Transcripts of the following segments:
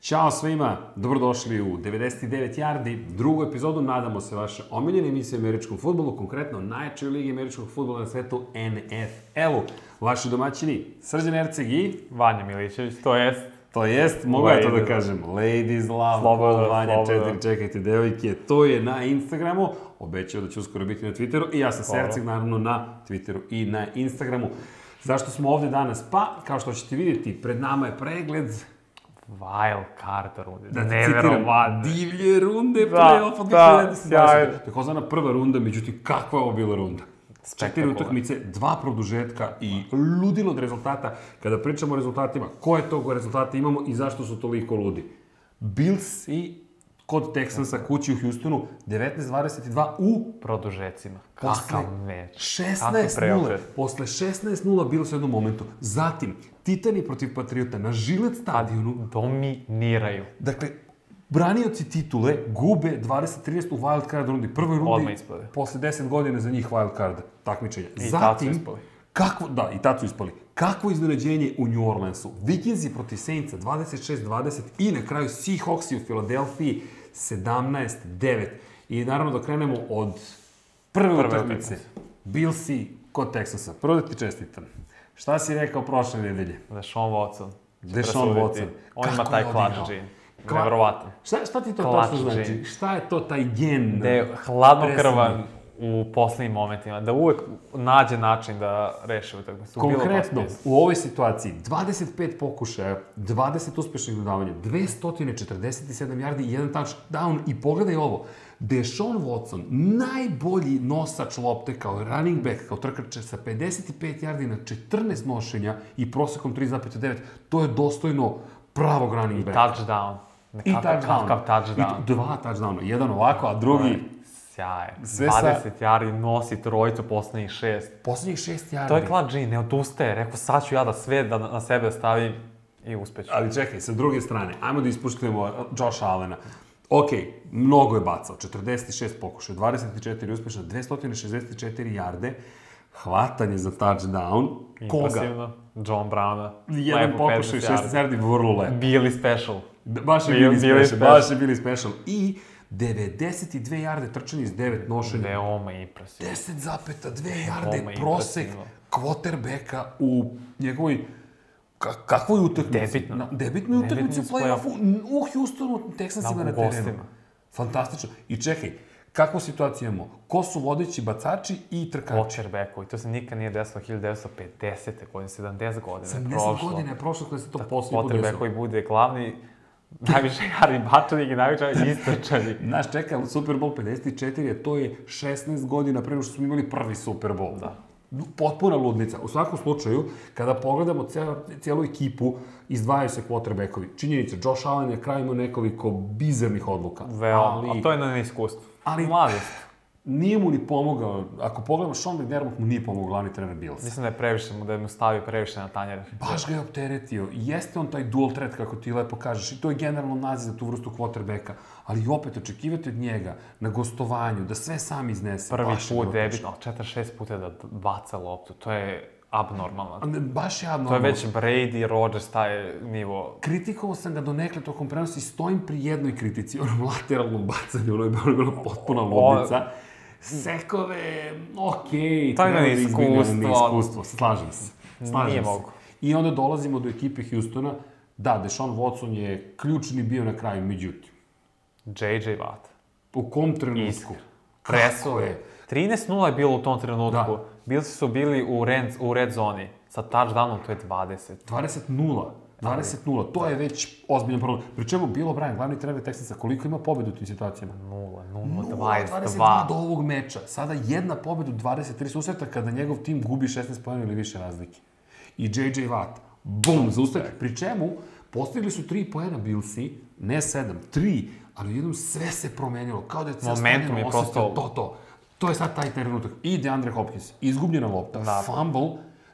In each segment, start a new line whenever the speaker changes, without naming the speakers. Ćao svima, dobrodošli u 99 Jardi, drugu epizodu, nadamo se, vaše omiljene emisije o američkom futbolu, konkretno najjačoj ligi američkog futbola na svetu, NFL-u. Vaši domaćini, Srđan Erceg i...
Vanja Milićević, to jest
To jest, mogu ja to da kažem, ladies love,
Slobodno,
call Vanja
slobodno.
4, čekajte, devojke, to je na Instagramu, obećao da će uskoro biti na Twitteru i ja sam
Hvala.
Serceg, naravno, na Twitteru i na Instagramu. Zašto smo ovde danas? Pa, kao što ćete vidjeti, pred nama je pregled
wild card runde.
da
Da
te citiram,
Neverovatno.
divlje runde
Da,
play-offa
da,
2020.
sjajno.
Takozvana prva runda, međutim, kakva je ovo bila runda? Četiri
Spektakularno.
utakmice, dva produžetka i ludilo od rezultata. Kada pričamo o rezultatima, koje tog rezultata imamo i zašto su toliko ludi? Bills i kod Texansa kući u Houstonu 19-22 u
Produžecima.
Posle
Kakav meč. Kakav
16-0.
preokret.
Posle 16-0 bilo se u jednom momentu. Zatim, Titani protiv Patriota na Žilet stadionu
Dominiraju.
Dakle, branioci titule gube 2013 u wild card rundi, prvoj rundi,
Odmah ispade.
posle 10 godina za njih wild card takmičenja. I
tad su ispali.
Kakvo, da, i tad su ispali. Kakvo iznenađenje u New Orleansu. Vikinzi protiv Saintsa 26-20 i na kraju Seahawksi u Filadelfiji 17-9. I naravno da krenemo od prve,
Prve
utakmice. Billsi kod Texasa. Prvo da ti čestitam. Šta si rekao prošle nedelje?
Da Sean Watson. će
Deshaun
presuditi.
Da Watson.
On ima
Kako
taj
je
clutch
odigrao?
gene.
Kla-
Neverovatno.
Šta, šta ti to
Klač
tačno znači?
ženi.
Šta je to taj gen?
Da je hladnokrvan u poslednjim momentima. Da uvek nađe način da reši utakmicu. u bilo kom
Konkretno,
smislu.
u ovoj situaciji, 25 pokušaja, 20 uspešnih dodavanja, 247 yardi i jedan touchdown. I pogledaj ovo, Deshaun Watson, najbolji nosač lopte kao running back, kao trkače sa 55 yardi na 14 nošenja i prosekom 3,9, to je dostojno pravog running backa.
Touchdown. Ne,
I
kakav-
touchdown.
Kakav touchdown.
I dva touchdowna, jedan ovako, a drugi...
Sjaje.
Sve sa-
20 yardi nosi trojicu poslednjih šest.
Poslednjih šest yardi.
To je Cloud G, ne odustaje, rekao sad ću ja da sve da na sebe stavim i uspeću.
Ali čekaj, sa druge strane, ajmo da ispuštujemo uh, Josh Allena. Ok, mnogo je bacao, 46 pokušaja, 24 uspešna, 264 jarde, hvatanje za touchdown, koga?
Impresivno. John Browna.
Jedan pokušaj, 16 yardi, vrlo lepo.
Bili special.
Da, Baš je
Bili-
bili special,
bili special.
baš je bili special. I 92 jarde trčanje iz 9 nošenja,
Veoma impresivno.
10,2 jarde
Veoma
prosek
impresivno.
kvoterbeka u njegovoj ka, kakvoj utakmici?
Debitnoj.
Na, debitnoj utakmici u
Debitnoj
play-offu n- u Houstonu, Texansima
Da, u
na terenu.
gostima.
Fantastično. I čekaj, kakvu situaciju imamo? Ko su vodeći bacači i trkači?
Quarterbackovi, to se nikad nije desilo 1950. godine, 70 godina je
70
prošlo. Da,
godina je prošlo kada se to posljednji put desilo.
Quarterbackovi bude glavni, najviše yardi bačanih i ovaj najviše istrčanih.
Znaš, čekaj, Super Bowl 54, a to je 16 godina pre nego što smo imali prvi Super Bowl. Da. Potpuna ludnica. U svakom slučaju, kada pogledamo celo, celu ekipu, izdvajaju se quarterbackovi. Činjenica, Josh Allen je na kraju imao nekoliko bizarnih odluka.
Veoma,
ali,
a to je na neiskustvu.
Ali-
Mladost.
Nije mu ni pomogao, ako pogledamo, Sean McDermott mu nije pomogao glavni trener Bills.
Mislim da je previše mu, da je mu stavio previše na tanjer.
Baš ga je opteretio. Jeste on taj dual threat, kako ti lepo kažeš, i to je generalno naziv za tu vrstu quarterbacka. Ali opet, očekivati od njega, na gostovanju, da sve sam iznese.
Prvi
baš je
put
bilo
debitno, ali 46 puta da baca loptu, to je abnormalno.
A Pa ne, Baš je abnormalno.
To je već Brady, Rodgers, taj nivo.
Kritikovao sam ga donekle tokom prenosa i stojim pri jednoj kritici, onom lateralnom bacanju, ono je bilo, bilo potpuna ludnica. Sekove, okej,
To je
treba da
neiskustvo.
izbjegnemo neiskustvo, slažem se. Slažem
Nije
se.
mogu.
I onda dolazimo do ekipe Hustona. Da, Deshaun Watson je ključni bio na kraju, međutim,
JJ Watt.
u kom trenutku?
Iskra.
Kako
Presuo
je?
je. 13-0 je bilo u tom trenutku.
Da.
Bili su bili u red, u red zoni. Sa touchdownom to je 20.
20-0. 20-0,
Da.
to je već ozbiljan problem. Pri čemu bilo Brian, glavni trener Texansa, koliko ima pobeda u tim situacijama?
0,
0,
0,
22 do
22.
ovog meča. Sada jedna pobeda u 23 susreta kada njegov tim gubi 16 pojena ili više razlike. I JJ Watt, bum, zaustavi. Pri čemu, postigli su 3 pojena Billsi, ne 7, 3, ali odjednom sve se promenilo. Kao da je ceo
Momentum
stadion
je
osetio
prosto-
to, to. To je sad taj trenutak. I DeAndre Hopkins, izgubljena lopta,
Da.
fumble,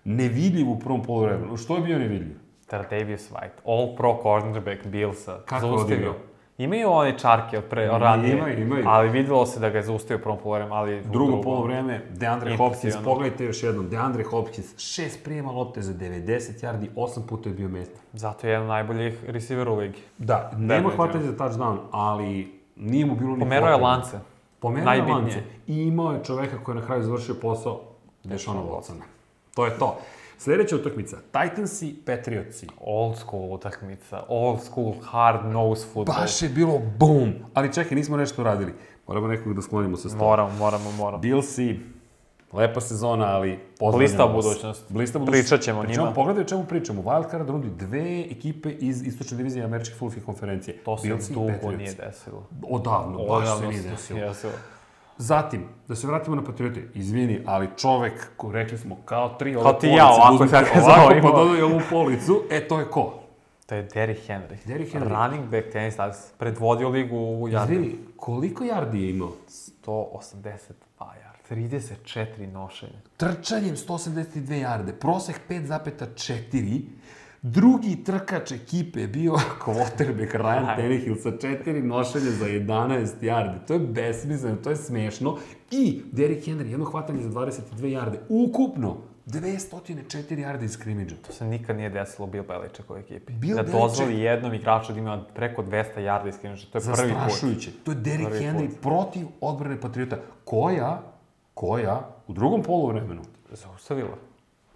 nevidljiv u prvom polovremenu. Što je bio nevidljiv?
Tartavius White, all pro cornerback Billsa.
Kako je
Zaustavio.
odigrao?
Imaju one čarke od pre, od ranije,
Imaju, imaju.
ali videlo se da ga je zaustavio u prvom polovremenu, ali... u
Drugo
drugom-
polovreme, DeAndre
Impresivno.
Hopkins, pogledajte još jednom, DeAndre Hopkins, šest prijema lopte za 90 yardi, osam puta je bio mesta.
Zato je jedan od najboljih receivera u ligi.
Da, nema
definitivno.
hvatanje za touchdown, ali nije mu bilo ni
Pomerao je
potrebno.
lance.
Pomerao je
Najbitnije.
lance i imao je čoveka koji je na kraju završio posao Dešona Watsona. To je to. Sljedeća utakmica, Titans i Patriotsi.
Old school utakmica, old school hard nose football.
Baš je bilo bum! Ali čekaj, nismo nešto radili. Moramo nekog da sklonimo sa stola.
Moramo, moramo, moramo.
Billsi, lepa sezona, ali pozdravljamo
Blista
vas.
budućnost.
Blista
Pričat ćemo o
Pričamo-
njima.
Pogledaj o čemu pričamo. Wildcard rundi dve ekipe iz istočne divizije američke fulke konferencije.
To se
Billsi i
dugo
Patriots.
nije desilo.
Odavno, baš se nije desilo.
desilo.
Zatim, da se vratimo na Patriote, izvini, ali čovek, ko rekli smo, kao tri ove
Kao ti ja, ovako
uzmite
kako je
ovako,
zaimao.
pa dodaj ovu policu, e to je ko?
To je Derrick Henry.
Derrick Henry.
Running back tenis danas. Predvodio ligu u Jardi.
Izvini, koliko yardi je imao?
182 yard. 34 nošenja.
Trčanjem 182 jarde, prosek 5,4, drugi trkač ekipe je bio quarterback
Da.
Ryan Tannehill sa četiri nošenja za 11 jarde. To je besmisleno, to je smešno. I Derrick Henry, jedno hvatanje za 22 jarde. Ukupno 204 jarde iz skrimidža.
To se nikad nije desilo u Bill Beličekovoj ekipi.
Bill
da
Belichick-
dozvoli jednom igraču da ima preko 200 yarda iz klinča. To je prvi put.
Zastrašujuće. To je Derrick
Prvi
Henry protiv odbrane Patriota, koja, koja u drugom poluvremenu
Zaustavila.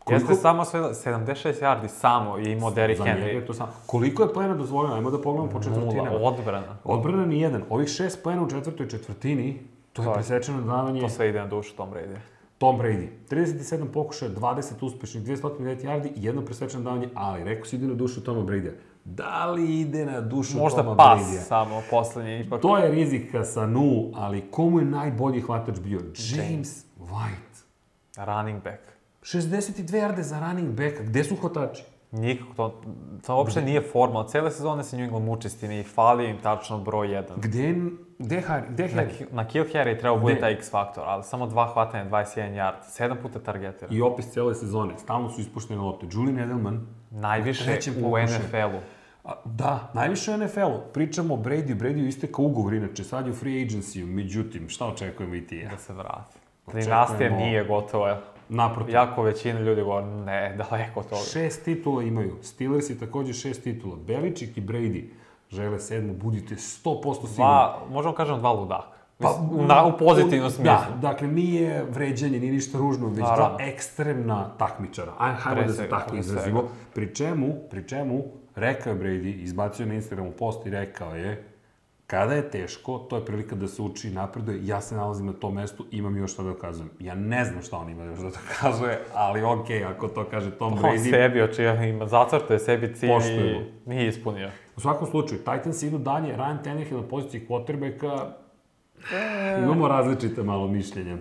Koliko-
Jeste samo sve, 76 yardi samo je imao Derrick
za njega je
Henry.
to samo. Koliko je pojena dozvoljeno? Ajmo da pogledamo po
Nula,
četvrtinama.
odbrana.
Odbrana ni jedan. Ovih šest pojena u četvrtoj četvrtini, Pa. to je
To je-
presečeno davanje
To sve ide na dušu Tom Brady.
Tom Brady. 37 pokušaja, 20 uspešnih, 209 yardi i jedno presečeno davanje, ali rekao si ide na dušu Toma Brady. Da li ide na dušu Toma
Možda pas
Bradya?
samo, poslednji ipak.
To je rizik ka Sanu, ali komu je najbolji hvatač bio? James White.
Running back.
62 yarde za running backa. Gde su hvatači?
Nikako to, to uopšte nije forma. Od cele sezone se New England muči s time i fali im tačno broj 1.
Gde je... Znači, Gde je Harry? Gde je
Na,
Harry?
Ki- na Kill Harry treba bude
Gde?
taj X faktor, ali samo dva hvatanja, 21 yard, sedam puta targetira.
I opis cele sezone. Stalno su ispuštene lopte. Julian Edelman.
Najviše
trećem
u
pokušaju.
NFL-u.
A, da, najviše u NFL-u. Pričamo o Brady. Brady isteka ugovor, inače sad je u free agency-u. Međutim, šta očekujemo i ti i ja?
da se vrati.
Očekujemo-
Dinastija nije gotova.
Naprotiv.
Jako većina ljudi govori, ne, daleko od toga.
Šest titula imaju. Steelers i takođe šest titula. Beličik i Brady žele sedmu. Budite 100% sigurni.
Dva, možemo kažem dva ludaka. Mislim, na, Pa, u pozitivnom smislu.
Pa, Da, dakle, nije vređanje, nije ništa ružno, već dva
Naravno.
ekstremna takmičara. Aj, hajmo
Pre
da se
svega,
tako
pre
izrazimo. Pri čemu, pri čemu, rekao je Brady, izbacio je na Instagramu post i rekao je Kada je teško, to je prilika da se uči i napreduje. Ja se nalazim na tom mestu, imam još šta da dokazujem. Ja ne znam šta on ima još da dokazuje, ali okej, ako to kaže Tom
On
Brady,
sebi očigledno ima, zacrtao je sebi cilj
Poštujemo.
i nije ispunio.
U svakom slučaju, Titans idu dalje, Ryan Tannehill na poziciji quarterbacka, imamo različite malo mišljenja.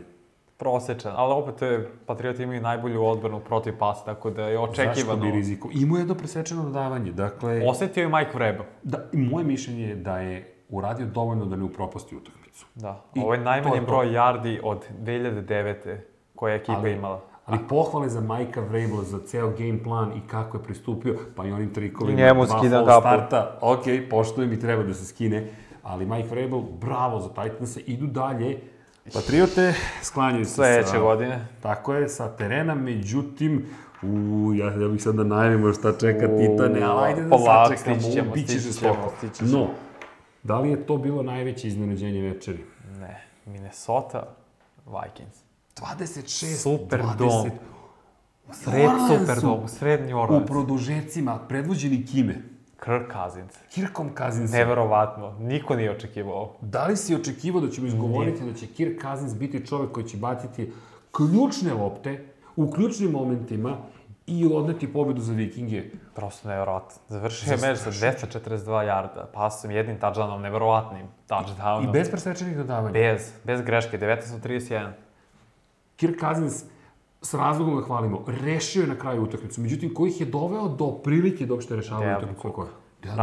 Prosečan, ali opet to je, Patrioti imaju najbolju odbranu protiv pasa, tako da je
Zašto
očekivano.
bi riziko? Imao je jedno presečeno dodavanje, dakle...
Osetio je Mike Vrebo.
Da, i moje mišljenje je da je uradio dovoljno da ne upropasti utakmicu.
Da.
I
Ovo je
to
najmanji
je to.
broj yardi od 2009. koje je ekipa imala.
Ali pohvale za Majka Vrabel za ceo game plan i kako je pristupio, pa i onim trikovima.
Njemu
dva
skida
false
kapu.
starta, ok, poštujem i treba da se skine. Ali Mike Vrabel, bravo za Titanse, idu dalje. Patriote sklanjaju se
Sledeće
sa-
godine.
Tako je, sa terena, međutim, u, ja, ja bih sad da najavimo šta čeka Titane, ali ajde da
polako,
sačekamo,
stići ćemo,
bit će
stići ćemo,
žestoko.
stići ćemo.
No, da li je to bilo najveće iznenađenje večeri?
Ne, Minnesota, Vikings.
26,
Superdom.
20,
Sred
Orleansu.
Superdom, sred New
u
Orleans.
produžecima, predvođeni kime?
Kirk Cousins.
Kirkom Kazinsom.
Neverovatno, niko nije očekivao ovo.
Da li si očekivao da ćemo izgovoriti da će Kirk Cousins biti čovek koji će baciti ključne lopte u ključnim momentima i odneti pobedu za Vikinge?
Prosto neverovatno. Završio je meč sa 242 jarda, pasom jednim touchdownom, neverovatnim
I
touchdownom.
bez presečenih dodavanja.
Bez, bez greške, 1931.
Kirk Cousins, s razlogom ga hvalimo, rešio je na kraju utakmicu. Međutim, koji ih je doveo do prilike da uopšte rešavaju
Devin
utakmicu? Da, Koja?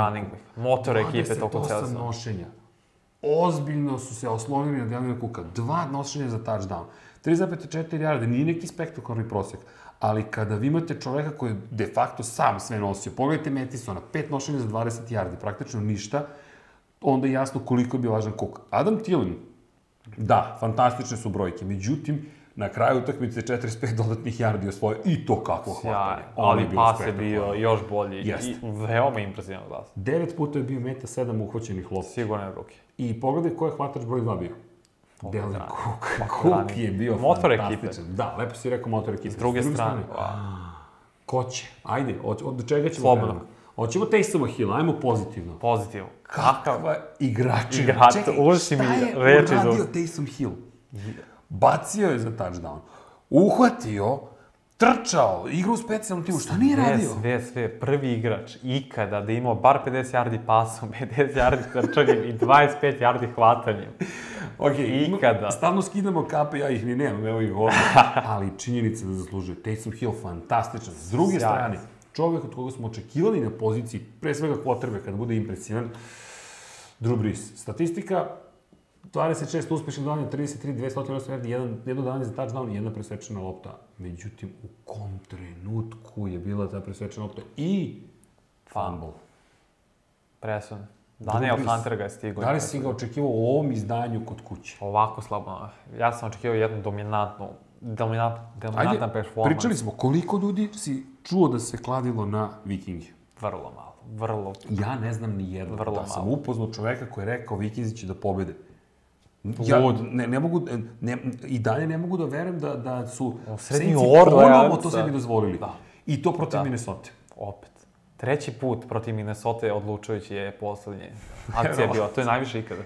Running back. Motor ekipe tokom cele
28
sezone.
nošenja. Ozbiljno su se oslonili na Delina Kuka. Dva nošenja za touchdown. 3,4 jarde, nije neki spektakularni prosek. Ali kada vi imate čoveka koji je de facto sam sve nosio, pogledajte Metisona, pet nošenja za 20 jardi, praktično ništa, onda je jasno koliko je bio važan Cook. Adam Thielen, da, fantastične su brojke, međutim, na kraju utakmice 45 dodatnih jardi osvojio i to kakvo hvatanje.
Sjajan.
Ono
Ali
bilo
pas je
spektakularno.
bio još bolji
da Jeste.
i veoma impresivan glas.
Devet puta je bio meta, sedam uhvaćenih lopti.
Sigurno je ruke.
I pogledaj ko je hvatač broj 2 bio. Delen
strane.
Cook.
strane.
Cook je bio
Motor ekipe.
fantastičan. Da, lepo si rekao motor ekipe.
S druge strane, wow.
Ko će? Ajde, od, od čega ćemo
Slobodno.
krenuti? Hoćemo Taysoma Hilla, ajmo pozitivno.
pozitivno. Kakav
Kakva igrača.
Igrač, uši mi reči iz
uradio
usta.
Taysom Hill? Bacio je za touchdown. Uhvatio, trčao, igrao u specijalnom timu. Šta nije radio?
Sve, sve, sve, prvi igrač ikada da je imao bar 50 yardi pasom, 50 yardi trčanjem i 25 yardi hvatanjem.
Ok,
Ikada.
Stalno skidamo kape, ja ih ni nemam, evo ih ovdje. Ali činjenica da zaslužuje. Taysom Hill fantastičan. S druge
Sjajan.
strane, čovjek od koga smo očekivali na poziciji, pre svega quarterback, kada bude impresivan, Drew Brees. Statistika, 26 uspešnih dodanja, 33, 208 yardi, jedan, jedno davanje za touchdown i jedna presečena lopta. Međutim, u kom trenutku je bila ta presečena lopta i fumble.
Presun. Daniel
Brees.
Hunter ga je stigao.
Da li si ga očekivao u ovom izdanju kod kuće?
Ovako slabo. Ja sam očekivao jednu dominantnu, dominant, dominantan performans.
pričali smo koliko ljudi si čuo da se kladilo na vikinge.
Vrlo malo, vrlo.
Ja ne znam ni jedno.
Vrlo
da sam
malo.
upoznao čoveka koji je rekao vikinzi će da pobede. Ja
Lud.
ne, ne mogu, e, ne, i dalje ne mogu da verujem da, da su
srednji
Saintsi
Orleansa.
ponovo to sebi dozvolili.
Da.
I to protiv
Da.
Minnesota.
Opet. Treći put protiv Minnesota odlučujući je poslednje. Akcija je bila, to je najviše ikada.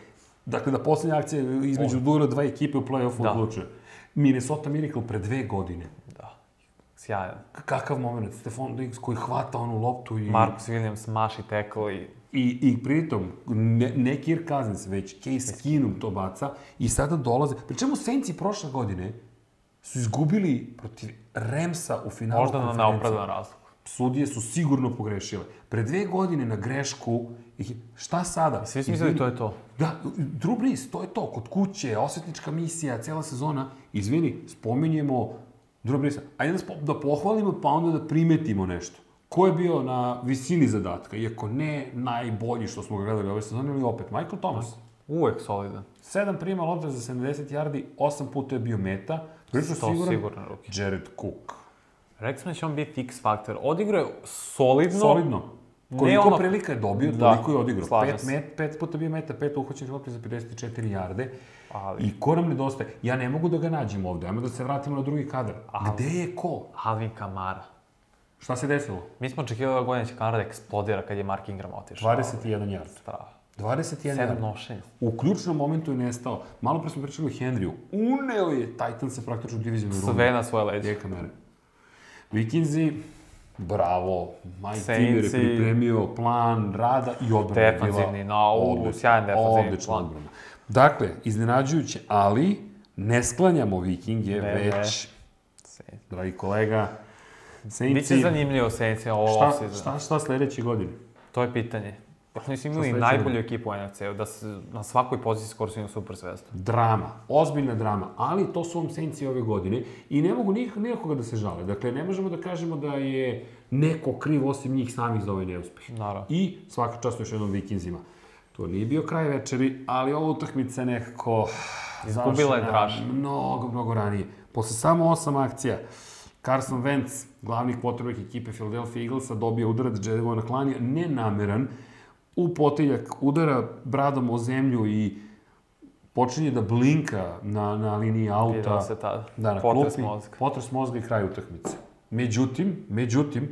Dakle, da poslednja akcija između duela dva ekipe u play-offu
Da.
odlučuje. Minnesota Miracle pre dve godine.
Da. Sjajan.
K- Kakav moment, Stefan Diggs koji hvata onu loptu i...
Marcus Williams maši teklo i
I, i pritom, ne, ne Kirk Cousins, već Case Keenum to baca i sada dolaze. Pri čemu Saintsi prošle godine su izgubili protiv Remsa u finalu
možda na
konferencije.
neopravdan razlog.
Sudije su sigurno pogrešile. Pre dve godine na grešku, ih- šta sada?
Svi su mislili to je to.
Da, Drew Brees, to je to, kod kuće, osvetnička misija, cela sezona. Izvini, spominjemo Drew Breesa. Ajde da, spo, da pohvalimo, pa onda da primetimo nešto. Ko je bio na visini zadatka, iako ne najbolji što smo ga gledali ove sezone, ali opet, Michael Thomas.
Uvek solidan.
7 prima lopta za 70 yardi, 8 puta je bio meta. Prilično
To
siguran.
sigurno ruke.
Jared Cook.
Rekli smo da će on biti X faktor. Odigrao je solidno.
Solidno. Koliko
ono-
prilika je dobio,
Da,
toliko je odigrao.
slažem
Pet,
se.
met, pet puta bio meta, pet uhvaćenih lopti za 54 jarde.
Ali-
I ko nam nedostaje? Ja ne mogu da ga nađem ovde, ajmo da se vratimo na drugi kadar.
Ali-
Gde je ko?
Alvin Kamara. Da
Šta se desilo?
Mi smo očekivali ove godine će Kamara da eksplodira kad je Mark Ingram otišao.
21 yard.
Strava.
21
Sedam
yard.
nošenja.
U ključnom momentu je nestao. Malo pre smo pričali o Henryu. Uneo je Titan sa praktično divizijom u
Sve na svoje leđe.
Gdje je kamera? Vikinzi, bravo. Mike
Saintsi.
Zimmer je pripremio plan rada i odbrana. je bila
Defanzivni, no, u,
odlična.
sjajan defanzivni
Odlična
plan.
odbrana. Dakle, iznenađujuće, ali ne sklanjamo Vikinge,
Ne,
već,
Sve.
dragi kolega, Saintsi,
Biće zanimljivo Saints ovo
šta,
off-season.
šta, šta sledeće godine?
To je pitanje. Pa Oni su imali
sledeće
najbolju ekipu u NFC-u, da se na svakoj poziciji skoro su imali super zvezdu.
Drama, ozbiljna drama, ali to su vam senci ove godine i ne mogu nik, nikoga da se žale. Dakle, ne možemo da kažemo da je neko kriv osim njih samih za ovaj neuspeh.
Naravno.
I svaka čast još jednom Vikinzima. To nije bio kraj večeri, ali ova utakmica je nekako
Izgubila je
završena
draž.
Mnogo, mnogo ranije. Posle samo osam akcija, Carson Wentz, glavni quarterback ekipe Philadelphia Eaglesa, dobio udarac Jedevona Klanja, nenameran, u potiljak, udara bradom o zemlju i počinje da blinka na, na liniji
Videla
auta.
se tada.
Da, na
Potres
klupi,
mozga.
Potres mozga i kraj utakmice. Međutim, međutim,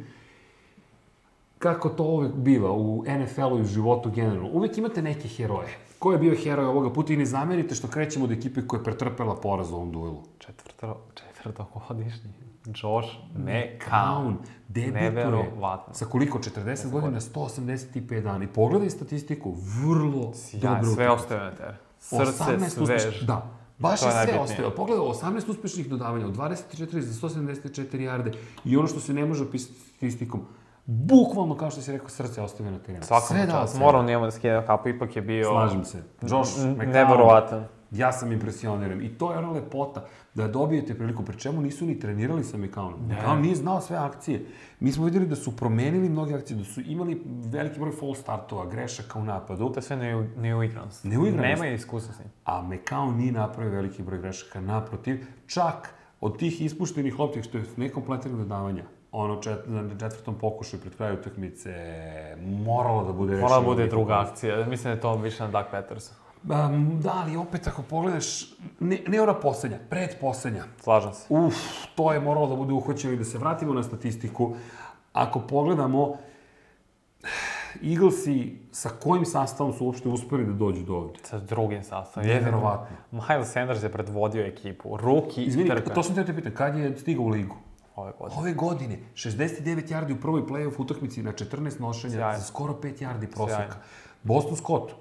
kako to uvek biva u NFL-u i u životu generalno, uvek imate neke heroje. Ko je bio heroj ovoga puta i ne zamerite što krećemo od ekipe koja je pretrpela poraz u ovom duelu.
Četvrto, četvrtogodišnji Josh McCown.
Kaun, debituje
Neverovatno.
sa koliko? 40 godina, 185 dana. I pogledaj statistiku, vrlo
Ja,
dobro
sve ostaje na tebi. Srce
18 uspešnih-
svež.
Da, baš
To
je
je
sve
najbitnije.
ostaje. Pogledaj, 18 uspešnih dodavanja, od 24 za 174 jarde i ono što se ne može opisati statistikom, bukvalno, kao što si rekao, srce ostaje na terenu.
Svakom
Sve dao
čast.
sebe.
Moram da imamo da skidam kapu, ipak je bio...
Slažem se. Josh
N-
McCown,
Neverovatan.
Ja sam impresioniran. I to je ona lepota da dobijete priliku, pri čemu nisu ni trenirali sa Mekaunom. Mekaun nije znao sve akcije. Mi smo videli da su promenili mnoge akcije, da su imali veliki broj false startova, grešaka u napadu,
To je sve neu- neuigranost.
Neuigranost.
Nemaju iskustva s njim.
a Mekaun nije napravio veliki broj grešaka. Naprotiv, čak od tih ispuštenih lopti, što je nekompletnog dodavanja, ono čet, na četvrtom pokušaju pred kraju utakmice, moralo da bude
Mora da
rešeno
bude
nekim
druga akcija. Mislim da je to više na Doug Petersu.
Um, da, ali opet ako pogledaš, ne, ne ona poslednja, predposlednja.
Slažem se.
Uf, to je moralo da bude uhvaćeno i da se vratimo na statistiku. Ako pogledamo, Eaglesi sa kojim sastavom su uopšte uspeli da dođu do ovde?
Sa drugim sastavom.
Neverovatno.
Miles Sanders je predvodio ekipu. Ruki
Izvini,
i trka.
to sam te te pitan, kad je stigao u ligu?
Ove godine.
Pa Ove godine, 69 yardi u prvoj play-off utakmici na 14 nošenja,
Sjajno.
za skoro 5 yardi proseka.
Sjajno.
Boston Scott,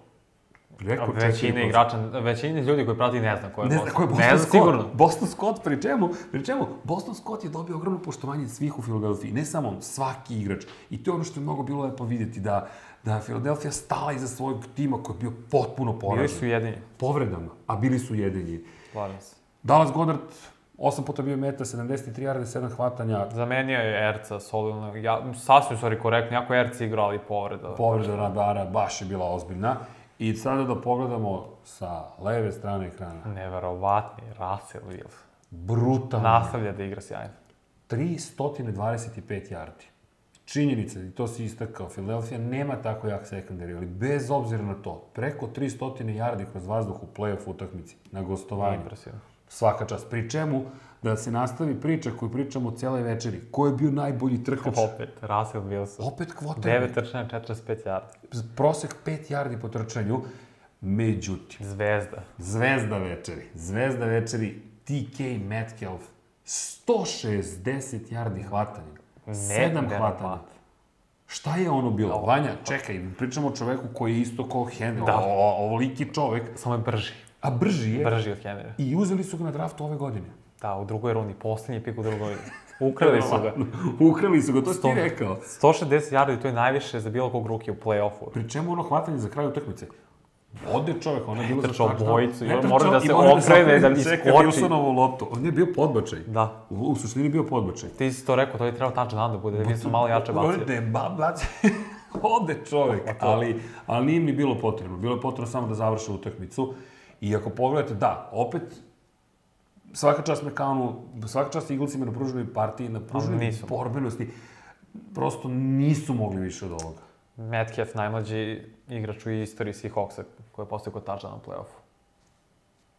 rekao
Većina igrača, većina ljudi koji prati ne zna ko je
Ne
Boston.
znam ko je Boston
ne
Scott.
znam, sigurno.
Boston Scott, pri čemu, pri čemu, Boston Scott je dobio ogromno poštovanje svih u Filadelfiji. Ne samo on, svaki igrač. I to je ono što je mnogo bilo lepo vidjeti, da, da Filadelfija stala iza svojeg tima koji je bio potpuno
Bili
poražen.
su jedini.
Povredama, a bili su jedini.
Slažem se.
Dallas Goddard, 8 puta bio meta, 73 jarde, 7 hvatanja,
Zamenio je Erca solidno. Ja, sasvim, sorry, korektno. Jako je Erca igrao, ali povreda.
povreda radara, baš je bila ozbiljna. I sada da pogledamo sa leve strane ekrana.
Neverovatni Russell Wilson.
Brutalno.
Nastavlja da igra sjajno.
325 yardi. Činjenica, i to si istakao, Philadelphia nema tako jak sekundari, ali bez obzira na to, preko 300 yardi kroz vazduh u play-off utakmici, na gostovanju,
Impresivno.
svaka čast. Pri čemu, da se nastavi priča koju pričamo cijele večeri, ko je bio najbolji trkač?
Opet, Russell Wilson.
Opet kvotar,
9 trčanja, 45 yardi.
prosek 5 yardi po trčanju, međutim,
Zvezda.
Zvezda večeri, zvezda večeri, TK Metcalf, 160 jardi hvatanja, 7 hvatanja.
neverovatno.
Šta je ono bilo? Vanja, čekaj, pričamo o čoveku koji je isto kao Henry,
Da.
da. o, o, ovoliki čovek,
Samo je brži.
a brži je.
Brži od Henrya.
I uzeli su ga na draftu ove godine.
Da, u drugoj rundi, poslednji pik u drugoj. Ukrali su ga.
Ukrali su ga, to si ti
Sto-
rekao.
160 yardi, to je najviše za bilo kog ruki u play-offu.
Pri čemu ono hvatanje za kraj utakmice? Ode čovek, ono je bilo za
trčao
touchdown.
bojicu i
Ne
on
trčao
mora da
i
se
mora
okrene, da
Čeka
iskoči.
Wilsonovu loptu. On je bio podbačaj.
Da.
U, u suštini bio podbačaj.
Ti si to rekao, to je trebao touchdown da bude, da vidim sam malo jače bacio. Pa
Ode, ba, bacio. Ode čovek, ali, ali nije im ni bilo potrebno. Bilo je potrebno samo da završe utakmicu. I ako pogledate, da, opet, svaka čast Mekanu, svaka čast Eaglesima da na pruženoj partiji, na
Ali
pruženoj
nisu.
borbenosti, prosto nisu mogli više od ovoga.
Metcalf, najmlađi igrač u istoriji Seahawksa koji je postao kod touchdown u play-offu.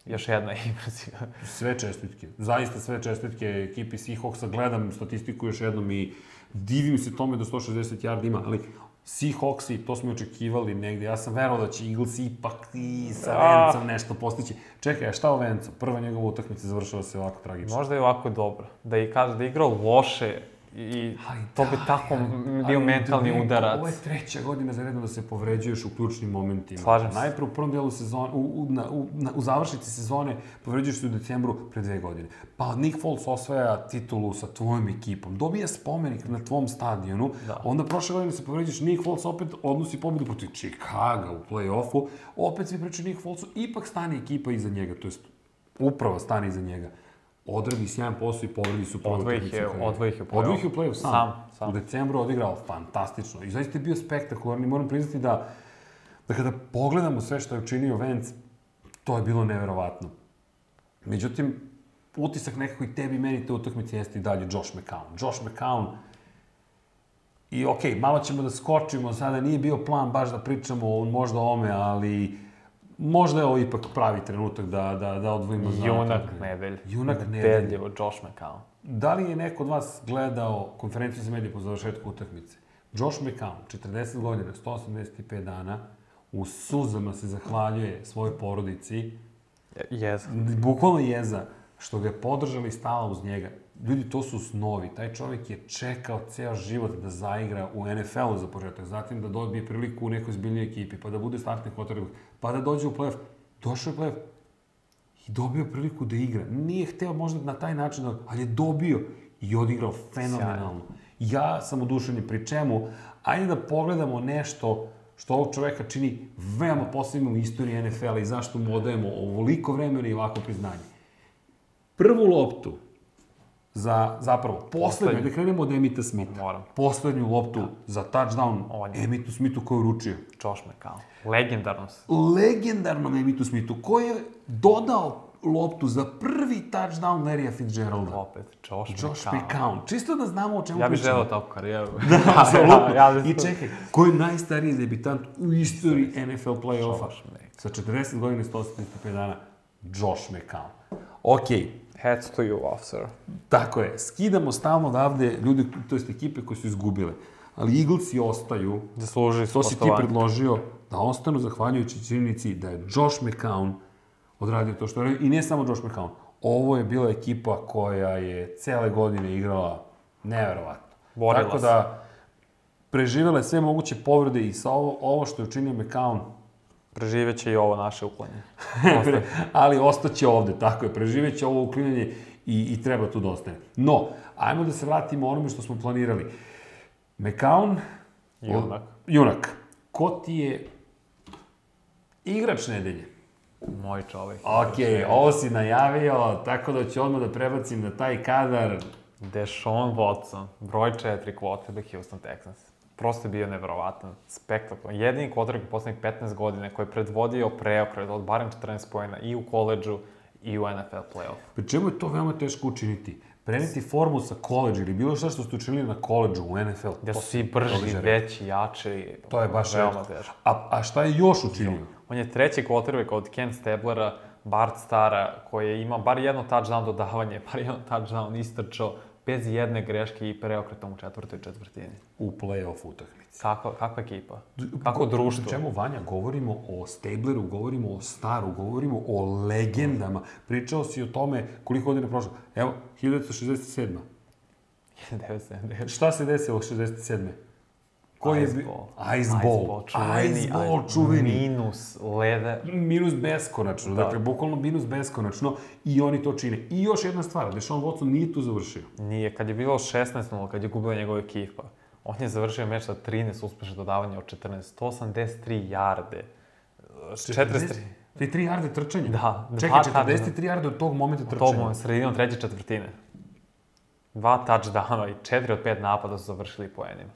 Još jedna impresija.
Sve čestitke, zaista sve čestitke ekipi Seahawksa, gledam statistiku još jednom i divim se tome da 160 yard ima, ali Seahawksi, to smo i očekivali negde, ja sam verovao da će Eagles ipak i sa
Ah.
Vencom nešto postići. Čekaj, a šta o Vencu? Prva njegova utakmica završava se ovako tragično.
Možda je ovako dobro. Da i kaže da je igrao loše i
Aj,
to bi
da,
tako
ali-
bio
ali
mentalni
drugo,
udarac.
Ovo je treća godina za redom da se povređuješ u ključnim momentima.
Slažem se.
Najpre u prvom delu sezone, u, u, na, u, na, u završnici sezone povređuješ se u decembru pre dve godine. Pa Nick Foles osvaja titulu sa tvojom ekipom, dobija spomenik na tvom stadionu,
Da.
onda prošle godine se povređuješ, Nick Foles opet odnosi pobedu protiv Chicaga u play-offu, opet svi pričaju Nick Folesu, ipak stane ekipa iza njega, to jest uprava stane iza njega. Odradi sjajan posao i povredi su prvu
Odvoji ih je-
utakmicu u karijeri.
odvoji ih je u play-off.
Odvoji ih je u play-off sam.
Sam, sam.
U decembru odigrao fantastično i zaista je bio spektakularni. Moram priznati da, da kada pogledamo sve što je učinio Vance, to je bilo neverovatno. Međutim, utisak nekako i tebi i meni te utakmice jeste i dalje Josh McCown. Josh McCown i okej, malo ćemo da skočimo, sada nije bio plan baš da pričamo o, možda o ome, ali možda je ovo ipak pravi trenutak da, da, da odvojimo za-
Junak nedelje.
Junak nedelje.
Ubedljivo, Josh McCown.
Da li je neko od vas gledao konferenciju za medije po završetku utakmice? Josh McCown, 40 godina, 185 dana, u suzama se zahvaljuje svojoj porodici,
Jezan.
bukvalno jeza, što ga je podržala i stala uz njega. Ljudi, to su snovi. Taj čovjek je čekao ceo život da zaigra u NFL-u za početak, zatim da dobije priliku u nekoj zbiljnoj ekipi, pa da bude startni quarterback, pa da dođe u play-off. Došao je u play-off, i dobio priliku da igra. Nije hteo možda na taj način, da- ali je dobio i odigrao fenomenalno. Ja sam oduševljen pri čemu. Ajde da pogledamo nešto što ovog čoveka čini veoma posebnim u istoriji NFL-a i zašto mu odajemo ovoliko vremena i ovako priznanje. Prvu loptu za, zapravo, poslednju,
Poslednju.
da krenemo od Emita Smitha.
Moram.
Poslednju loptu za touchdown
On je.
Emitu Smithu koju uručio.
Josh McCown. Legendarno se.
Legendarnom Emitu Smithu koji je dodao loptu za prvi touchdown Larrya Fitzgeralda.
Opet, Josh,
Josh
McCown.
McCown. Čisto da znamo o čemu
Ja bih
pričamo.
želeo takvu karijeru.
Da, apsolutno.
Ja, ja,
I čekaj, ko je najstariji debitant u istoriji NFL play-offa?
Josh McCown.
Sa 40 godina i 175 dana, Josh McCown. Ok,
Heads to you, officer.
tako je. Skidamo stalno odavde ljudi, to jest ekipe koje su izgubile. Ali Eaglesi ostaju,
Zaslužili su
to si ti
poštovanje.
predložio, da ostanu zahvaljujući činjenici da je Josh McCown odradio to što je radio. I ne samo Josh McCown. Ovo je bila ekipa koja je cele godine igrala neverovatno.
Borila
Tako
se.
da, preživela je sve moguće povrede i sa ovo, ovo što je učinio McCown,
Preživeće i ovo naše uklanje.
Pre- ali ostaće ovde, tako je, preživeće ovo uklinjanje i, i treba tu da ostane. No, ajmo da se vratimo onome što smo planirali. McCown,
Junak.
junak, ko ti je igrač nedelje?
Moj čovek.
Ok, ovo si najavio, tako da ću odmah da prebacim na taj kadar.
Deshaun Watson, broj 4 quarterback Houston Texans. Prosto je bio nevjerovatan, spektakulan. Jedini quarterback u poslednjih 15 godina koji je predvodio preokret od barem 14 pojena i u koleđu i u NFL playoff.
Pri čemu je to veoma teško učiniti? Preneti formu sa koleđa ili bilo šta što ste učinili na koleđu u NFL.
Gde
to-
su svi
to
brži,
liže re-
veći, jači.
To je baš
veoma
veoma
teško.
A, a šta je još učinio?
On je treći quarterback od Ken Stablera, Bart Stara, koji je imao bar jedno touchdown dodavanje, bar jedno touchdown istrčao, bez jedne greške i preokretom u četvrtoj četvrtini.
U play-off utakmici.
Kakva, kakva ekipa? Kako društvo?
O čemu, Vanja, govorimo o Stableru, govorimo o Staru, govorimo o legendama. Pričao si o tome koliko godina je prošlo. Evo, 1967.
1979.
Šta se desilo 67. Koji je bi-
Iceball,
Iceball.
čuveni.
Iceball,
ice-
čuveni.
Minus, lede.
Minus beskonačno,
Da.
dakle, bukvalno minus beskonačno i oni to čine. I još jedna stvar, Deshaun Watson nije tu završio.
Nije, kad je bilo 16-0, kad je gubila njegova ekipa, on je završio meč sa 13 uspešnih dodavanja od 14, 183 jarde. 43.
43 jarde trčanja.
Da,
Čekaj,
dva tačna.
43 jarde od tog momenta trčanja.
Tobom sredinom treće četvrtine. Dva touchdowna i četiri od pet napada su završili poenima.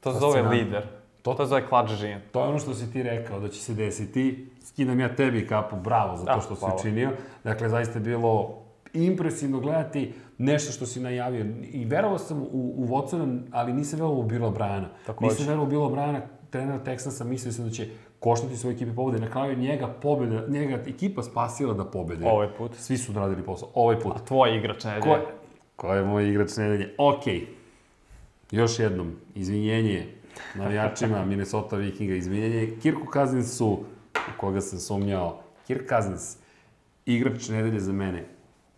To se zove
Fascinantno.
lider. To, to se zove klač žin.
To je ono što si ti rekao da će se desiti. Skidam ja tebi kapu, bravo za
Da,
to što si
hvala.
učinio. Dakle, zaista je bilo impresivno gledati nešto što si najavio. I verovao sam u, u Watsona, ali nisam verovao u Bilo Brana.
Takođe.
Nisam verovao u Bilo Brana, trener Texansa, mislio sam da će koštati svoje ekipe pobjede. Na kraju je njega, pobjeda, njega ekipa spasila da pobjede.
Ovaj put.
Svi su odradili posao. Ovaj put.
A tvoj igrač ne
Ko, ko je moj igrač nedelje? Ok. Još jednom, izvinjenje navijačima Minnesota Vikinga, izvinjenje Kirku Kazinsu, u koga sam sumnjao. Kirk Kazins, igrač nedelje za mene,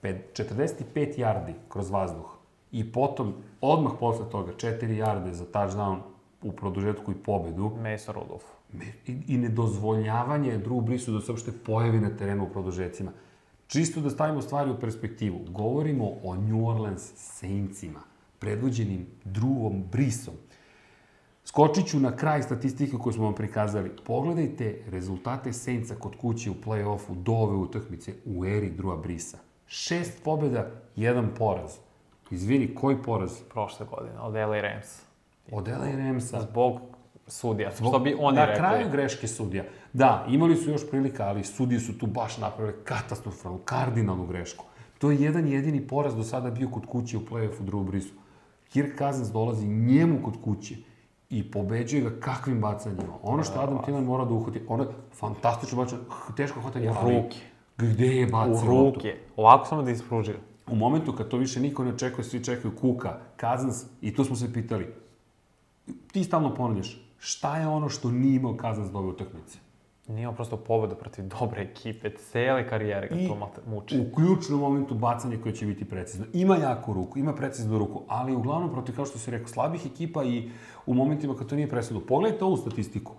Pe- 45 jardi kroz vazduh i potom, odmah posle toga, 4 jarde za touchdown u produžetku i pobedu
Mason Rudolph.
Me- i, i nedozvoljavanje Drew Brisu da se uopšte pojavi na terenu u produžecima. Čisto da stavimo stvari u perspektivu, govorimo o New Orleans Saintsima, predvođenim Drewom Brisom. Skočit ću na kraj statistike koju smo vam prikazali. Pogledajte rezultate Saintsa kod kuće u play-offu do ove utakmice u eri Drewa Brisa. Šest pobjeda, jedan poraz. Izvini, koji poraz?
Prošle godine, od LA Rams.
Od LA Ramsa.
Zbog sudija, što bi oni
Na
rekli.
kraju greške sudija. Da, imali su još prilika, ali sudije su tu baš napravili katastrofalnu, kardinalnu grešku. To je jedan jedini poraz do sada bio kod kuće u play-offu Drew Brisu. Kirk Cousins dolazi njemu kod kuće i pobeđuje ga kakvim bacanjima. Ono što Adam Thielen mora da uhvati, ono je fantastično bačanje, h- teško hvatanje, ali
ruke.
Gde je bacio
U
loptu?
ruke. Ovako samo da ispruži.
U momentu kad to više niko ne očekuje, svi čekaju Kuka, Cousins, i tu smo se pitali, ti stalno ponavljaš, šta je ono što nije imao Cousins do ove utakmice?
Nije on prosto pobedu protiv dobre ekipe, cele karijere ga
I
da to mate- muči.
u ključnom momentu bacanje koje će biti precizno. Ima jaku ruku, ima preciznu ruku, ali uglavnom protiv, kao što si rekao, slabih ekipa i u momentima kad to nije presudno. Pogledajte ovu statistiku.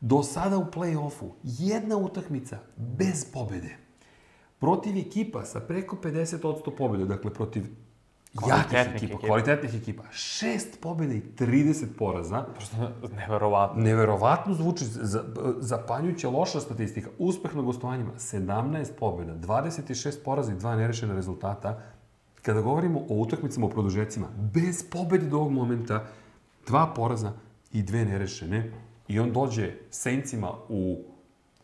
Do sada u play-offu jedna utakmica bez pobede. Protiv ekipa sa preko 50% pobjede, dakle protiv Jakih
Kvalitetnih
ekipa,
ekipa.
kvalitetnih ekipa. Šest pobjeda i 30 poraza.
Prosto neverovatno.
Neverovatno zvuči, za- zapanjujuća loša statistika. Uspeh na gostovanjima, 17 pobjeda, 26 poraza i dva nerešena rezultata. Kada govorimo o utakmicama u produžecima, bez pobjede do ovog momenta, dva poraza i dve nerešene. I on dođe Sencima u,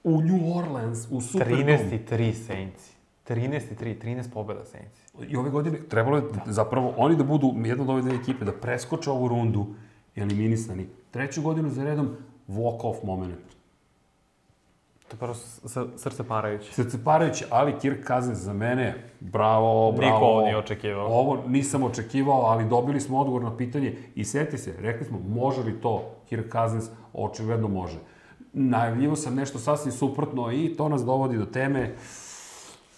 u New Orleans, u Superdome.
13 i 3 Saintsi. 13 i 3, 13 pobjeda Saintsi.
I ove godine trebalo je da. zapravo oni da budu jedna od ove dve ekipe, da preskoče ovu rundu, eliminisani. Treću godinu za redom, walk-off moment.
To je prosto s- srce parajuće.
Srceparajuće, ali Kirk Cousins za mene, bravo, bravo.
Niko ovo nije očekivao.
Ovo nisam očekivao, ali dobili smo odgovor na pitanje i seti se, rekli smo, može li to Kirk Cousins? Očigledno može. Najavljivo sam nešto sasvim suprotno i to nas dovodi do teme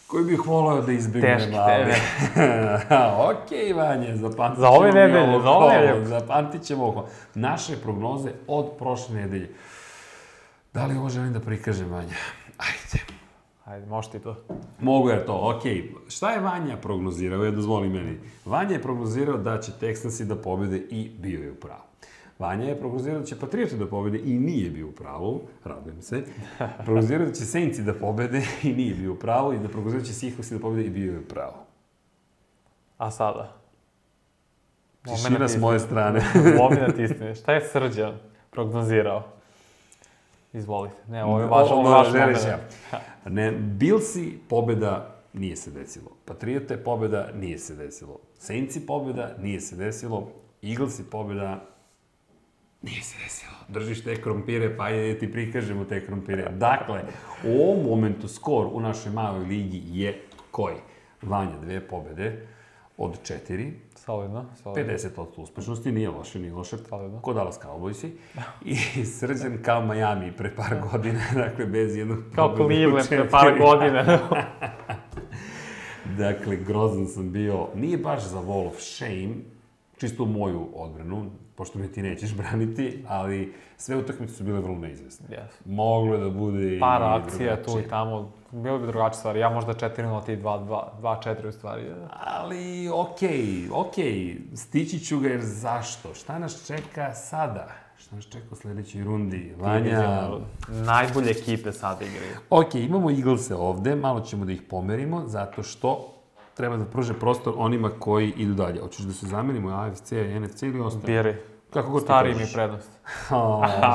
koju bih volao da izbjegnem.
Teške
ali-
teme.
ok, Vanje, zapamtit
Za ove
ćemo mi
nedelje,
ovo
za ove
kolo,
nedelje.
Zapamtit ćemo ovo. Naše prognoze od prošle nedelje. Da li ovo želim da prikažem, Vanja? Ajde.
Ajde, možeš ti to.
Mogu je to, okej. Šta je Vanja prognozirao? Ja dozvoli meni. Vanja je prognozirao da će Texansi da pobede i bio je u pravu. Vanja je prognozirao da će Patrioti da pobede i nije bio u pravu, radujem se. Prognozirao da će Saintsi da pobede i nije bio u pravu i da prognozirao da će Seahawksi da pobede i bio je u pravu.
A sada? da
Tišina s moje strane.
Lomina tisne. da Šta je Srđan prognozirao? Izvolite. Ne, E, ovo je vaš,
Ovo
ovo je vaš
želiš
moment.
ja. Ne, Bilsi pobeda nije se desilo. Patriote pobeda nije se desilo. Saintsi pobeda nije se desilo. Eaglesi pobeda nije se desilo. Držiš te krompire, pa ajde da ti prikažemo te krompire. Dakle, u ovom momentu skor u našoj maloj ligi je koji? Vanja dve pobede od četiri,
Solidno, solidno.
50% uspešnosti, nije loše, nije loše,
Solidno.
ko Dallas Cowboysi. I srđan kao Miami pre par godina, dakle bez jednog...
Da. Kao
pobeda u
Cleveland pre par
četiri.
godina.
Dakle, grozan sam bio, nije baš za Wall of Shame, čisto u moju odbranu, pošto me ti nećeš braniti, ali sve utakmice su bile vrlo neizvesne.
yes.
Moglo je da bude i
Par akcija tu
drugačije.
i tamo. Bilo bi drugačije stvari. Ja možda 4-0, ti 2-2, 2-4 u stvari.
Ali, okej, okej, stići ću ga jer zašto? Šta nas čeka sada? Šta nas čeka u sledećoj rundi? Vanja,
Najbolje ekipe sada igraju.
Ok, imamo Eaglese ovde, malo ćemo da ih pomerimo, zato što treba da pruže prostor onima koji idu dalje. Hoćeš da se zamenimo AFC, NFC ili ostaje?
Biri.
Kako god ti
Stari mi
kažeš.
prednost.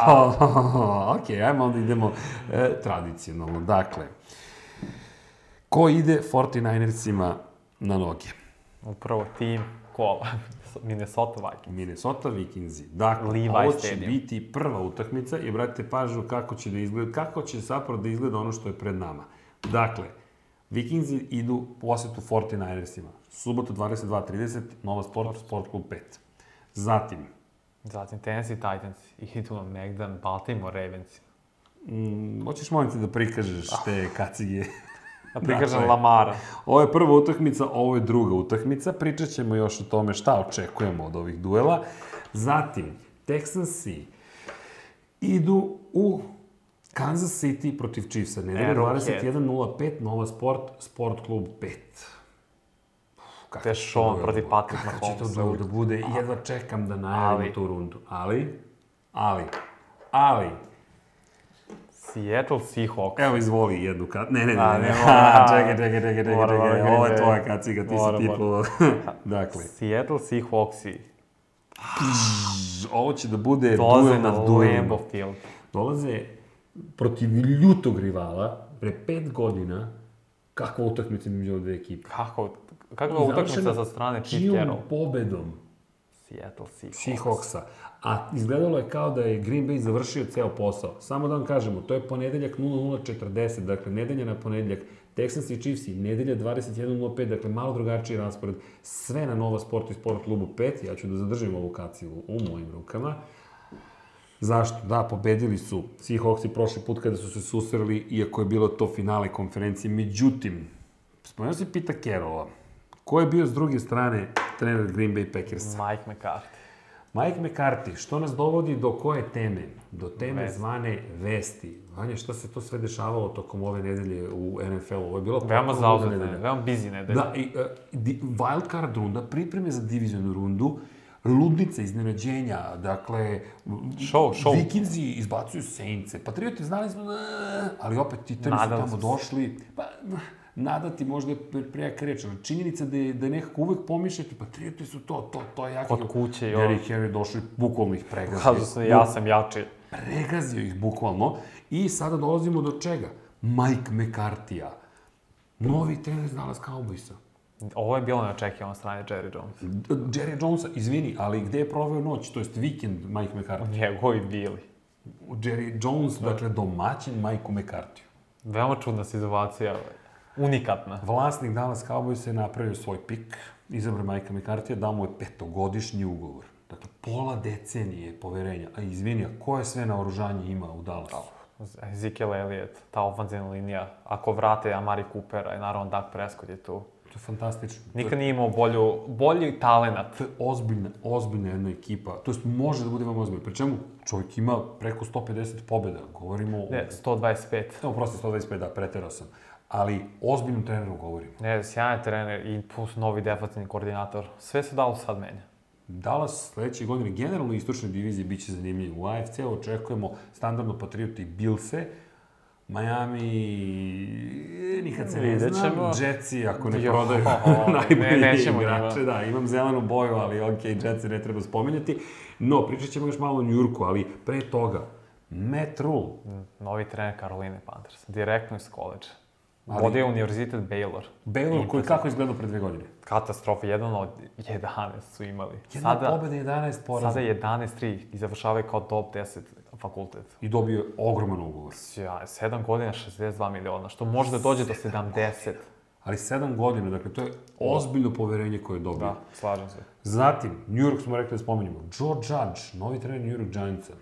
ok, ajmo onda idemo e, tradicionalno. Dakle, ko ide 49ercima na noge?
Upravo tim kola. Minnesota Vikings.
Minnesota Vikingsi. Dakle,
Levi
ovo će
Stadium.
biti prva utakmica i obratite pažnju kako će da izgleda, kako će zapravo da izgleda ono što je pred nama. Dakle, Vikingsi idu posetu 49ersima. Subota 22.30, Nova Sport, Sport Klub 5. Zatim,
Zatim Tennessee Titans. I tu nam Megdan, Baltimore Ravens.
mm, hoćeš molim te da prikažeš te kacige?
Da prikažem
Dakle.
Lamara.
Ovo je prva utakmica, ovo je druga utakmica. Pričat ćemo još o tome šta očekujemo od ovih duela. Zatim, Texansi idu u Kansas City protiv Chiefsa.
E,
Nedelja
Arrowhead.
21.05, Nova Sport, Sport Klub 5. Kako će to
Sean
duel
protiv
da bude?
Patrick
Kakav će to
Mahomesa.
duel da bude? Jedva čekam da najavim
Ali.
tu rundu. Ali, ali, ali,
Seattle Seahawks.
Evo, izvoli jednu kacigu. Ne, ne, ne,
A,
ne.
ne,
ne.
moram.
čekaj, čekaj, čekaj, čekaj,
Moram,
čekaj.
moram,
Ovo je
čekaj.
tvoja kaciga, ti
Moram,
si
moram.
titlovo. dakle,
Seattle Seahawksi.
ovo će da bude
Dolaze
E, duel
na
nad duelom.
Lambeau Field.
Dolaze protiv ljutog rivala, pre pet godina, kakva utakmica među ove dve ekipe.
Kako, kakva
I završena
utakmica sa strane Chief
Čijom
Carroll?
pobedom
Seattle Seahawks.
Seahawksa. A izgledalo je kao da je Green Bay završio ceo posao. Samo da vam kažemo, to je ponedeljak 00.40, dakle nedelja na ponedeljak. Texans i Chiefs i nedelja 21.05, dakle malo drugačiji raspored. Sve na Nova Sport i Sport klubu 5, ja ću da zadržim ovu kaciju u mojim rukama. Zašto? Da, pobedili su Seahawksi prošli put kada su se susreli, iako je bilo to finale konferencije. Međutim, spomenuo si Pita Kerola. Ko je bio s druge strane trener Green Bay Packersa?
Mike McCarthy.
Mike McCarthy, što nas dovodi do koje teme? Do teme
Vesti.
zvane vesti. Vanja, šta se to sve dešavalo tokom ove nedelje u NFL-u? Ovo je bilo
Veoma
potpuno
zauzeta,
nedelja.
veoma busy nedelja.
Da, i, e, di, wild card runda, pripreme za divizionu rundu, ludnica iznenađenja, dakle...
Show, show.
Vikinzi izbacuju Saintse, Patrioti znali smo, da- ali opet Titani su
Nadali
tamo
smo se.
došli, pa nadati možda je pre- prejaka reč, ali činjenica da je, da je nekako uvek pomišljati, Patrioti su to, to, to je jako.
Kod kuće i ovo.
Derrick Henry došao i bukvalno ih pregazio.
Kažu se,
Da.
ja sam jači.
Pregazio ih bukvalno i sada dolazimo do čega? Mike McCarthy-a. Novi trener iz Dallas Cowboysa.
Ovo je bilo neočekivano od strane Jerry Jones.
Jerry Jonesa, izvini, ali gde je proveo noć, to jest vikend Mike McCarthy?
Njegovi bili.
Jerry Jones, dakle domaćin Mike McCarthy.
Veoma čudna situacija. Unikatna.
Vlasnik Dallas Cowboys je napravio svoj pik, izabrao Mike McCarthy, dao mu je petogodišnji ugovor. Dakle, pola decenije poverenja. A izvini, a koje sve naoružanje ima u Dallasu?
Ezekiel Elliott, ta ofanzivna linija. Ako vrate Amari Coopera i naravno Dak Prescott je tu.
To je fantastično. To je-
Nikad nije imao bolju, bolji talenat.
To je ozbiljna, ozbiljna jedna ekipa. To jest, može da bude vam ozbiljna. Pri čemu, čovjek ima preko 150 pobjeda. Govorimo o...
Ne, 125.
Ne, oprosti, 125, da, preterao sam. Ali ozbiljnom treneru govorimo.
Ne, sjajan trener i plus novi defensivni koordinator. Sve se dalo sad menja.
Dallas sledeće godine generalno u istočnoj diviziji biće zanimljiv. U AFC očekujemo standardno Patrioti i Billse, Miami, e, nikad se ne
Vidjet
znam,
ćemo.
Jetsi ako ne
Jo,
prodaju
ne,
najbolje
nećemo
igrače. Da, imam zelenu boju, ali ok, Jetsi ne treba spominjati. No, pričat ćemo još malo o Njurku, ali pre toga, Matt Rule,
Novi trener Karoline Panthers. Direktno iz koleđa.
Ali-
Vode je univerzitet Baylor.
Baylor koji kako je izgledao pre dve godine?
Katastrofa, jedan od 11 su imali.
Jedna Sada,
Sada,
pobeda 11 poraza
sada 11-3 i završavaju kao top 10 fakultet.
i dobio je ogroman ugovor.
Ja, 7 godina 62 miliona, što može da dođe do 70.
Ali 7 godina, dakle, to je ozbiljno poverenje koje je dobio.
Da, slažem se.
Zatim, New York smo rekli da spomenjamo. Joe Judge, novi trener New York Giantsa.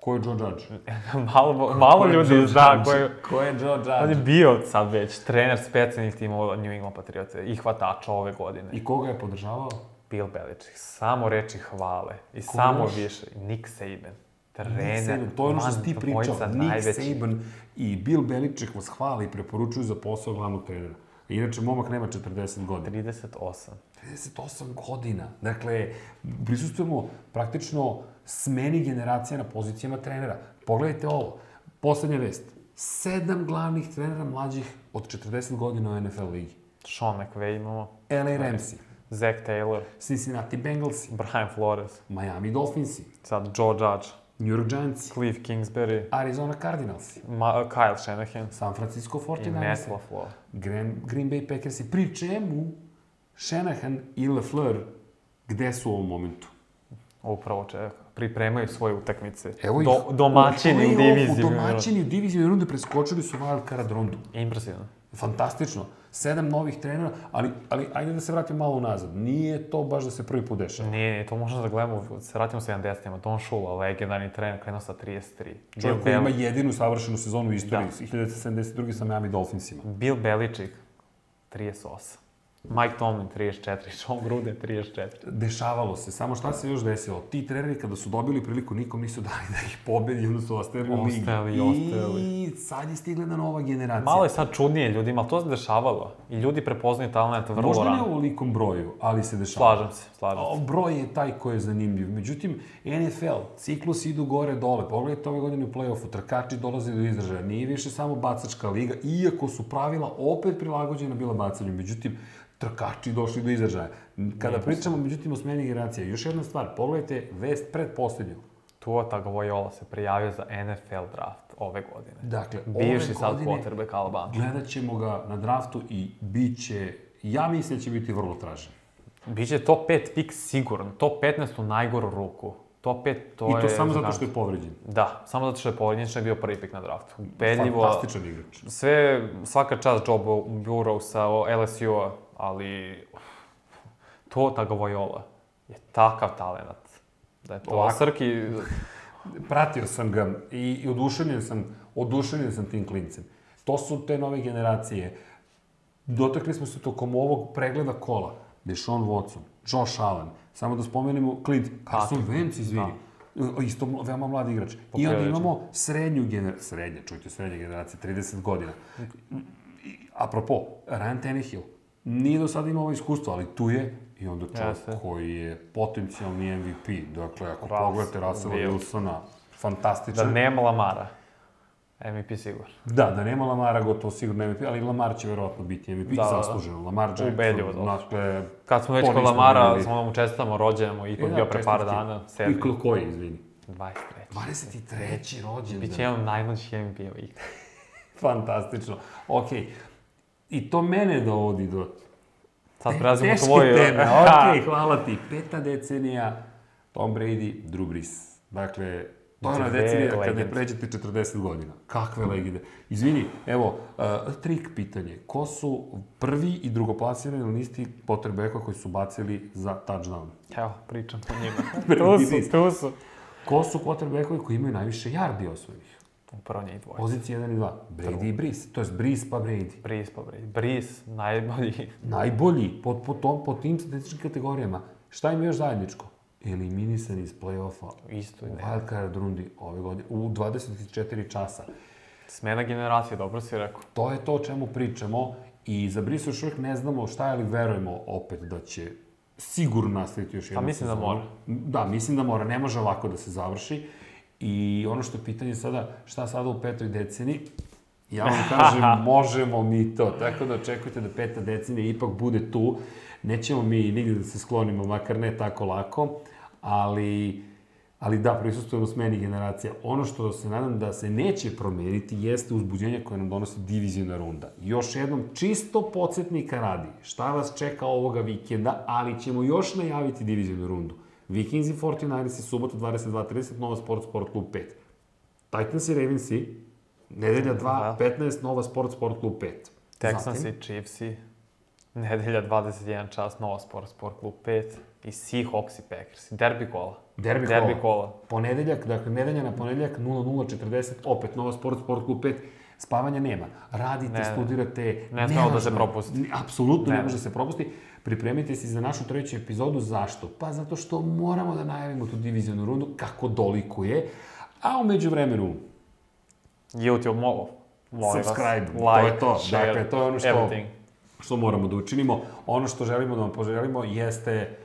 Ko je Joe Judge?
malo, malo E, ljudi zna koji...
Ko je Joe
On je
Judge?
bio sad već trener specijalnih timova New England Patriota i hvatača ove godine. I
I koga je podržavao?
Bill Belichick. Samo reči hvale. I samo
još?
više. I Nick Saban.
Nick
Trener.
Saban, to je ono što si ti pričao.
dvojica
Nick
najvećih.
Saban i Bill Belichick vas hvali i preporučuju za posao glavnog trenera. Inače, momak nema 40 godina.
38.
38 godina. Dakle, prisustujemo praktično smeni generacija na pozicijama trenera. Pogledajte ovo. Poslednja vest. Sedam glavnih trenera mlađih od 40 godina u NFL ligi.
Sean McVay imamo.
LA Ramsey,
Zach Taylor.
Cincinnati Bengalsi,
Brian Flores.
Miami Dolphinsi,
Sad Joe Judge.
New York Giantsi,
Cliff Kingsbury.
Arizona Cardinalsi,
Ma, Kyle Shanahan.
San Francisco
I
49ersi,
Matt LaFleur.
Green, Green Bay Packersi, pri čemu Shanahan i LaFleur gde su u ovom momentu?
Upravo čeka. Pripremaju svoje utakmice.
ih
Do, domaćini u
play-offu,
diviziji.
Domaćini u diviziju runde preskočili su wild card rundu.
Impresivno.
Fantastično. Sedam novih trenera, ali, ali ajde da se vratimo malo unazad. Nije to baš da se prvi put dešava.
Nije, nije, to možemo da gledamo, se vratimo u 70-ima, Don Shula, legendarni trener, krenuo sa 33. Bill,
Čovjek koji ima
Bel-
jedinu savršenu sezonu u istoriji,
Da.
1972. sa Miami Dolphinsima.
Bill Belichick, 38. Mike Tomlin, 34. John Gruden, 34.
Dešavalo se, samo šta se još desilo? Ti treneri kada su dobili priliku, nikom nisu dali da ih pobedi, onda su ostajali u ligi.
Ostali,
I
ostali.
sad je stigla jedna nova generacija.
Malo je sad čudnije ljudima, ali to se dešavalo. I ljudi prepoznaju talent vrlo
Možda ne
rano.
u ovolikom broju, ali se dešava.
Slažem se, slažem se.
A, Broj je taj koji je zanimljiv. Međutim, NFL, ciklus idu gore-dole. Pogledajte ove godine u play-offu, trkači dolaze do izražaja. Nije više samo bacačka liga, iako su pravila opet prilagođena bila bacanju. Međutim, trkači došli do izražaja. Kada pričamo, međutim, o smeni generacija, još jedna stvar, pogledajte vest predposlednju.
Tua Tagovailoa se prijavio za NFL draft ove godine.
Dakle, ove
Bivši sad
godine
quarterback Alabama.
gledat ćemo ga na draftu i bit će, ja mislim da će biti vrlo tražen.
Biće top 5 pik sigurno, top 15 u najgoru ruku. Top 5 to je...
I to samo zato
znak-
što je povređen.
Da, samo zato što je povređen, što je bio prvi pik na draftu. Ubedljivo,
Fantastičan igrač.
sve, svaka čast Joe Burrowsa, LSU-a, ali uf, to Tagovajola je takav talenat. Da je to
Ovako.
Srki,
Pratio sam ga i, i oduševljen sam, oduševljen sam tim klincem. To su te nove generacije. Dotakli smo se tokom ovog pregleda kola. Deshaun Watson, Josh Allen, Samo da spomenemo Clint Carson
Carson,
Wentz, izvini. Da. Isto mla- veoma mlad igrač. I onda
Poprilično.
imamo srednju generaciju, srednja, čujte, srednja generacija, 30 godina. I, apropo, Ryan Tannehill nije do sada imao ovo iskustvo, ali tu je i onda čovjek
Jeste.
koji je potencijalni MVP. Dakle, ako
Russell
pogledate Russella
Wilson.
Wilsona, fantastičan.
Da nema Lamara. MVP sigur.
Da, da nema Lamara, gotovo sigurno MVP, ali Lamar će verovatno biti MVP,
Da,
da,
da, da.
zasluženo. Lamar Jackson,
Ubedljivo, da.
dakle...
Kad smo već
To
kod
nismo
Lamara,
vidjeli.
smo mu čestamo rođenemu, ipak
E,
bio pre par
čestitke.
dana, 7.
I klo koji, izvini?
23.
23. rođendan.
Biće jedan od najmlađih MVP-eva ikada.
Fantastično. Okej. I to mene dovodi do
Sad
te-
prelazimo u
teške
tvoju...
teme.
Ha,
Okej, hvala ti. Peta decenija, Tom Brady, Drew Brees. Dakle, to je ona
Dve
decenija kada
legende.
ne pređete 40 godina. Kakve legende. Izvini, evo, uh, trik pitanje. Ko su prvi i drugoplasirani na listi potrebeka koji su bacili za touchdown?
Evo, pričam o njima.
Prvi
tu su, tu su.
Ko su quarterbackovi koji imaju najviše yardi osvojenih?
Upravo njih dvoje.
Pozicije 1 i 2. Brady i Brees. To je Brees pa Brady.
Bris, pa Bris. Bris, najbolji.
najbolji po, po, tom, po tim statističkim kategorijama. Šta im je još zajedničko? Eliminisan iz play-offa
Isto
u
je.
wild card rundi ove godine, u 24 časa.
Smena generacije, dobro si rekao.
To je to o čemu pričamo i za Brisa još uvijek ne znamo šta je, ali verujemo opet da će sigurno nastaviti još jednu
mislim da
sezonu.
mora.
Da, mislim da mora. Ne može ovako da se završi. I ono što je pitanje sada, šta sada u petoj deceni? Ja vam kažem, možemo mi to. Tako da očekujte da peta decenija ipak bude tu. Nećemo mi nigde da se sklonimo, makar ne tako lako. Ali, ali da, prisustujemo smeni generacija. Ono što se nadam da se neće promeniti jeste uzbuđenje koje nam donosi divizijona runda. Još jednom, čisto podsjetnika radi šta vas čeka ovoga vikenda, ali ćemo još najaviti divizijonu rundu. Vikings i 49ersi, subota 22.30, Nova Sport, Sport Klub 5. Titans i Ravensi, nedelja 2,
Da.
15, Nova Sport, Sport Klub 5.
Texans i Chiefs Nedelja 21 čas, Nova Sport, Sport Klub 5. I Seahawks i Packers. Derbi kola.
Derbi,
Derbi
kola.
kola.
Ponedeljak, dakle, nedelja na ponedeljak 00.40, opet Nova Sport, Sport Klub 5. Spavanja nema. Radite,
Ne.
studirate.
Ne smemo da
važno.
se propusti.
Ne, apsolutno ne.
Ne.
može da se propusti. Pripremite se za našu treću epizodu. Zašto? Pa zato što moramo da najavimo tu divizijonu rundu kako dolikuje. A umeđu vremenu,
YouTube, molim. vas,
Subscribe, to
like,
je to.
share,
Dakle, to je ono što-
everything.
što moramo da učinimo. Ono što želimo da vam poželimo jeste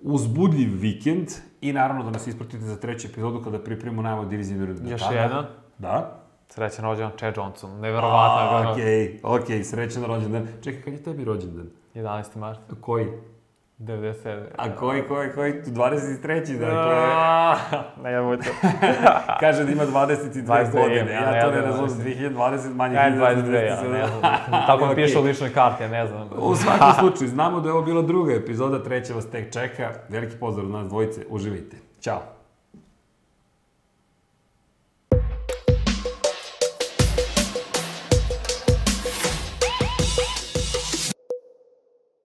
uzbudljiv vikend i naravno da nas ispratite za treću epizodu kada pripremimo najavu divizijne runde.
Još
Tada-
jedan.
Da.
Srećan rođendan Chad Johnson. Neverovatno je bilo.
Okej, okej, srećan rođendan. Čekaj, kad je tebi rođendan?
11. mart,
Koji?
97.
A koji, koji, koji? 23. dakle.
A, Ne jebujte.
Kaže da ima 22
22,
godine.
ja,
Ja
ja
to
da,
ne
da,
razumem.
da.
2020 manje.
Ja je 22, ja.
1997.
ne mogu. Tako
Okej.
okay. piše u ličnoj karti, ja ne znam.
U svakom slučaju, znamo da je ovo bila druga epizoda, treća vas tek čeka. Veliki pozdrav od nas dvojice, uživajte. Ćao.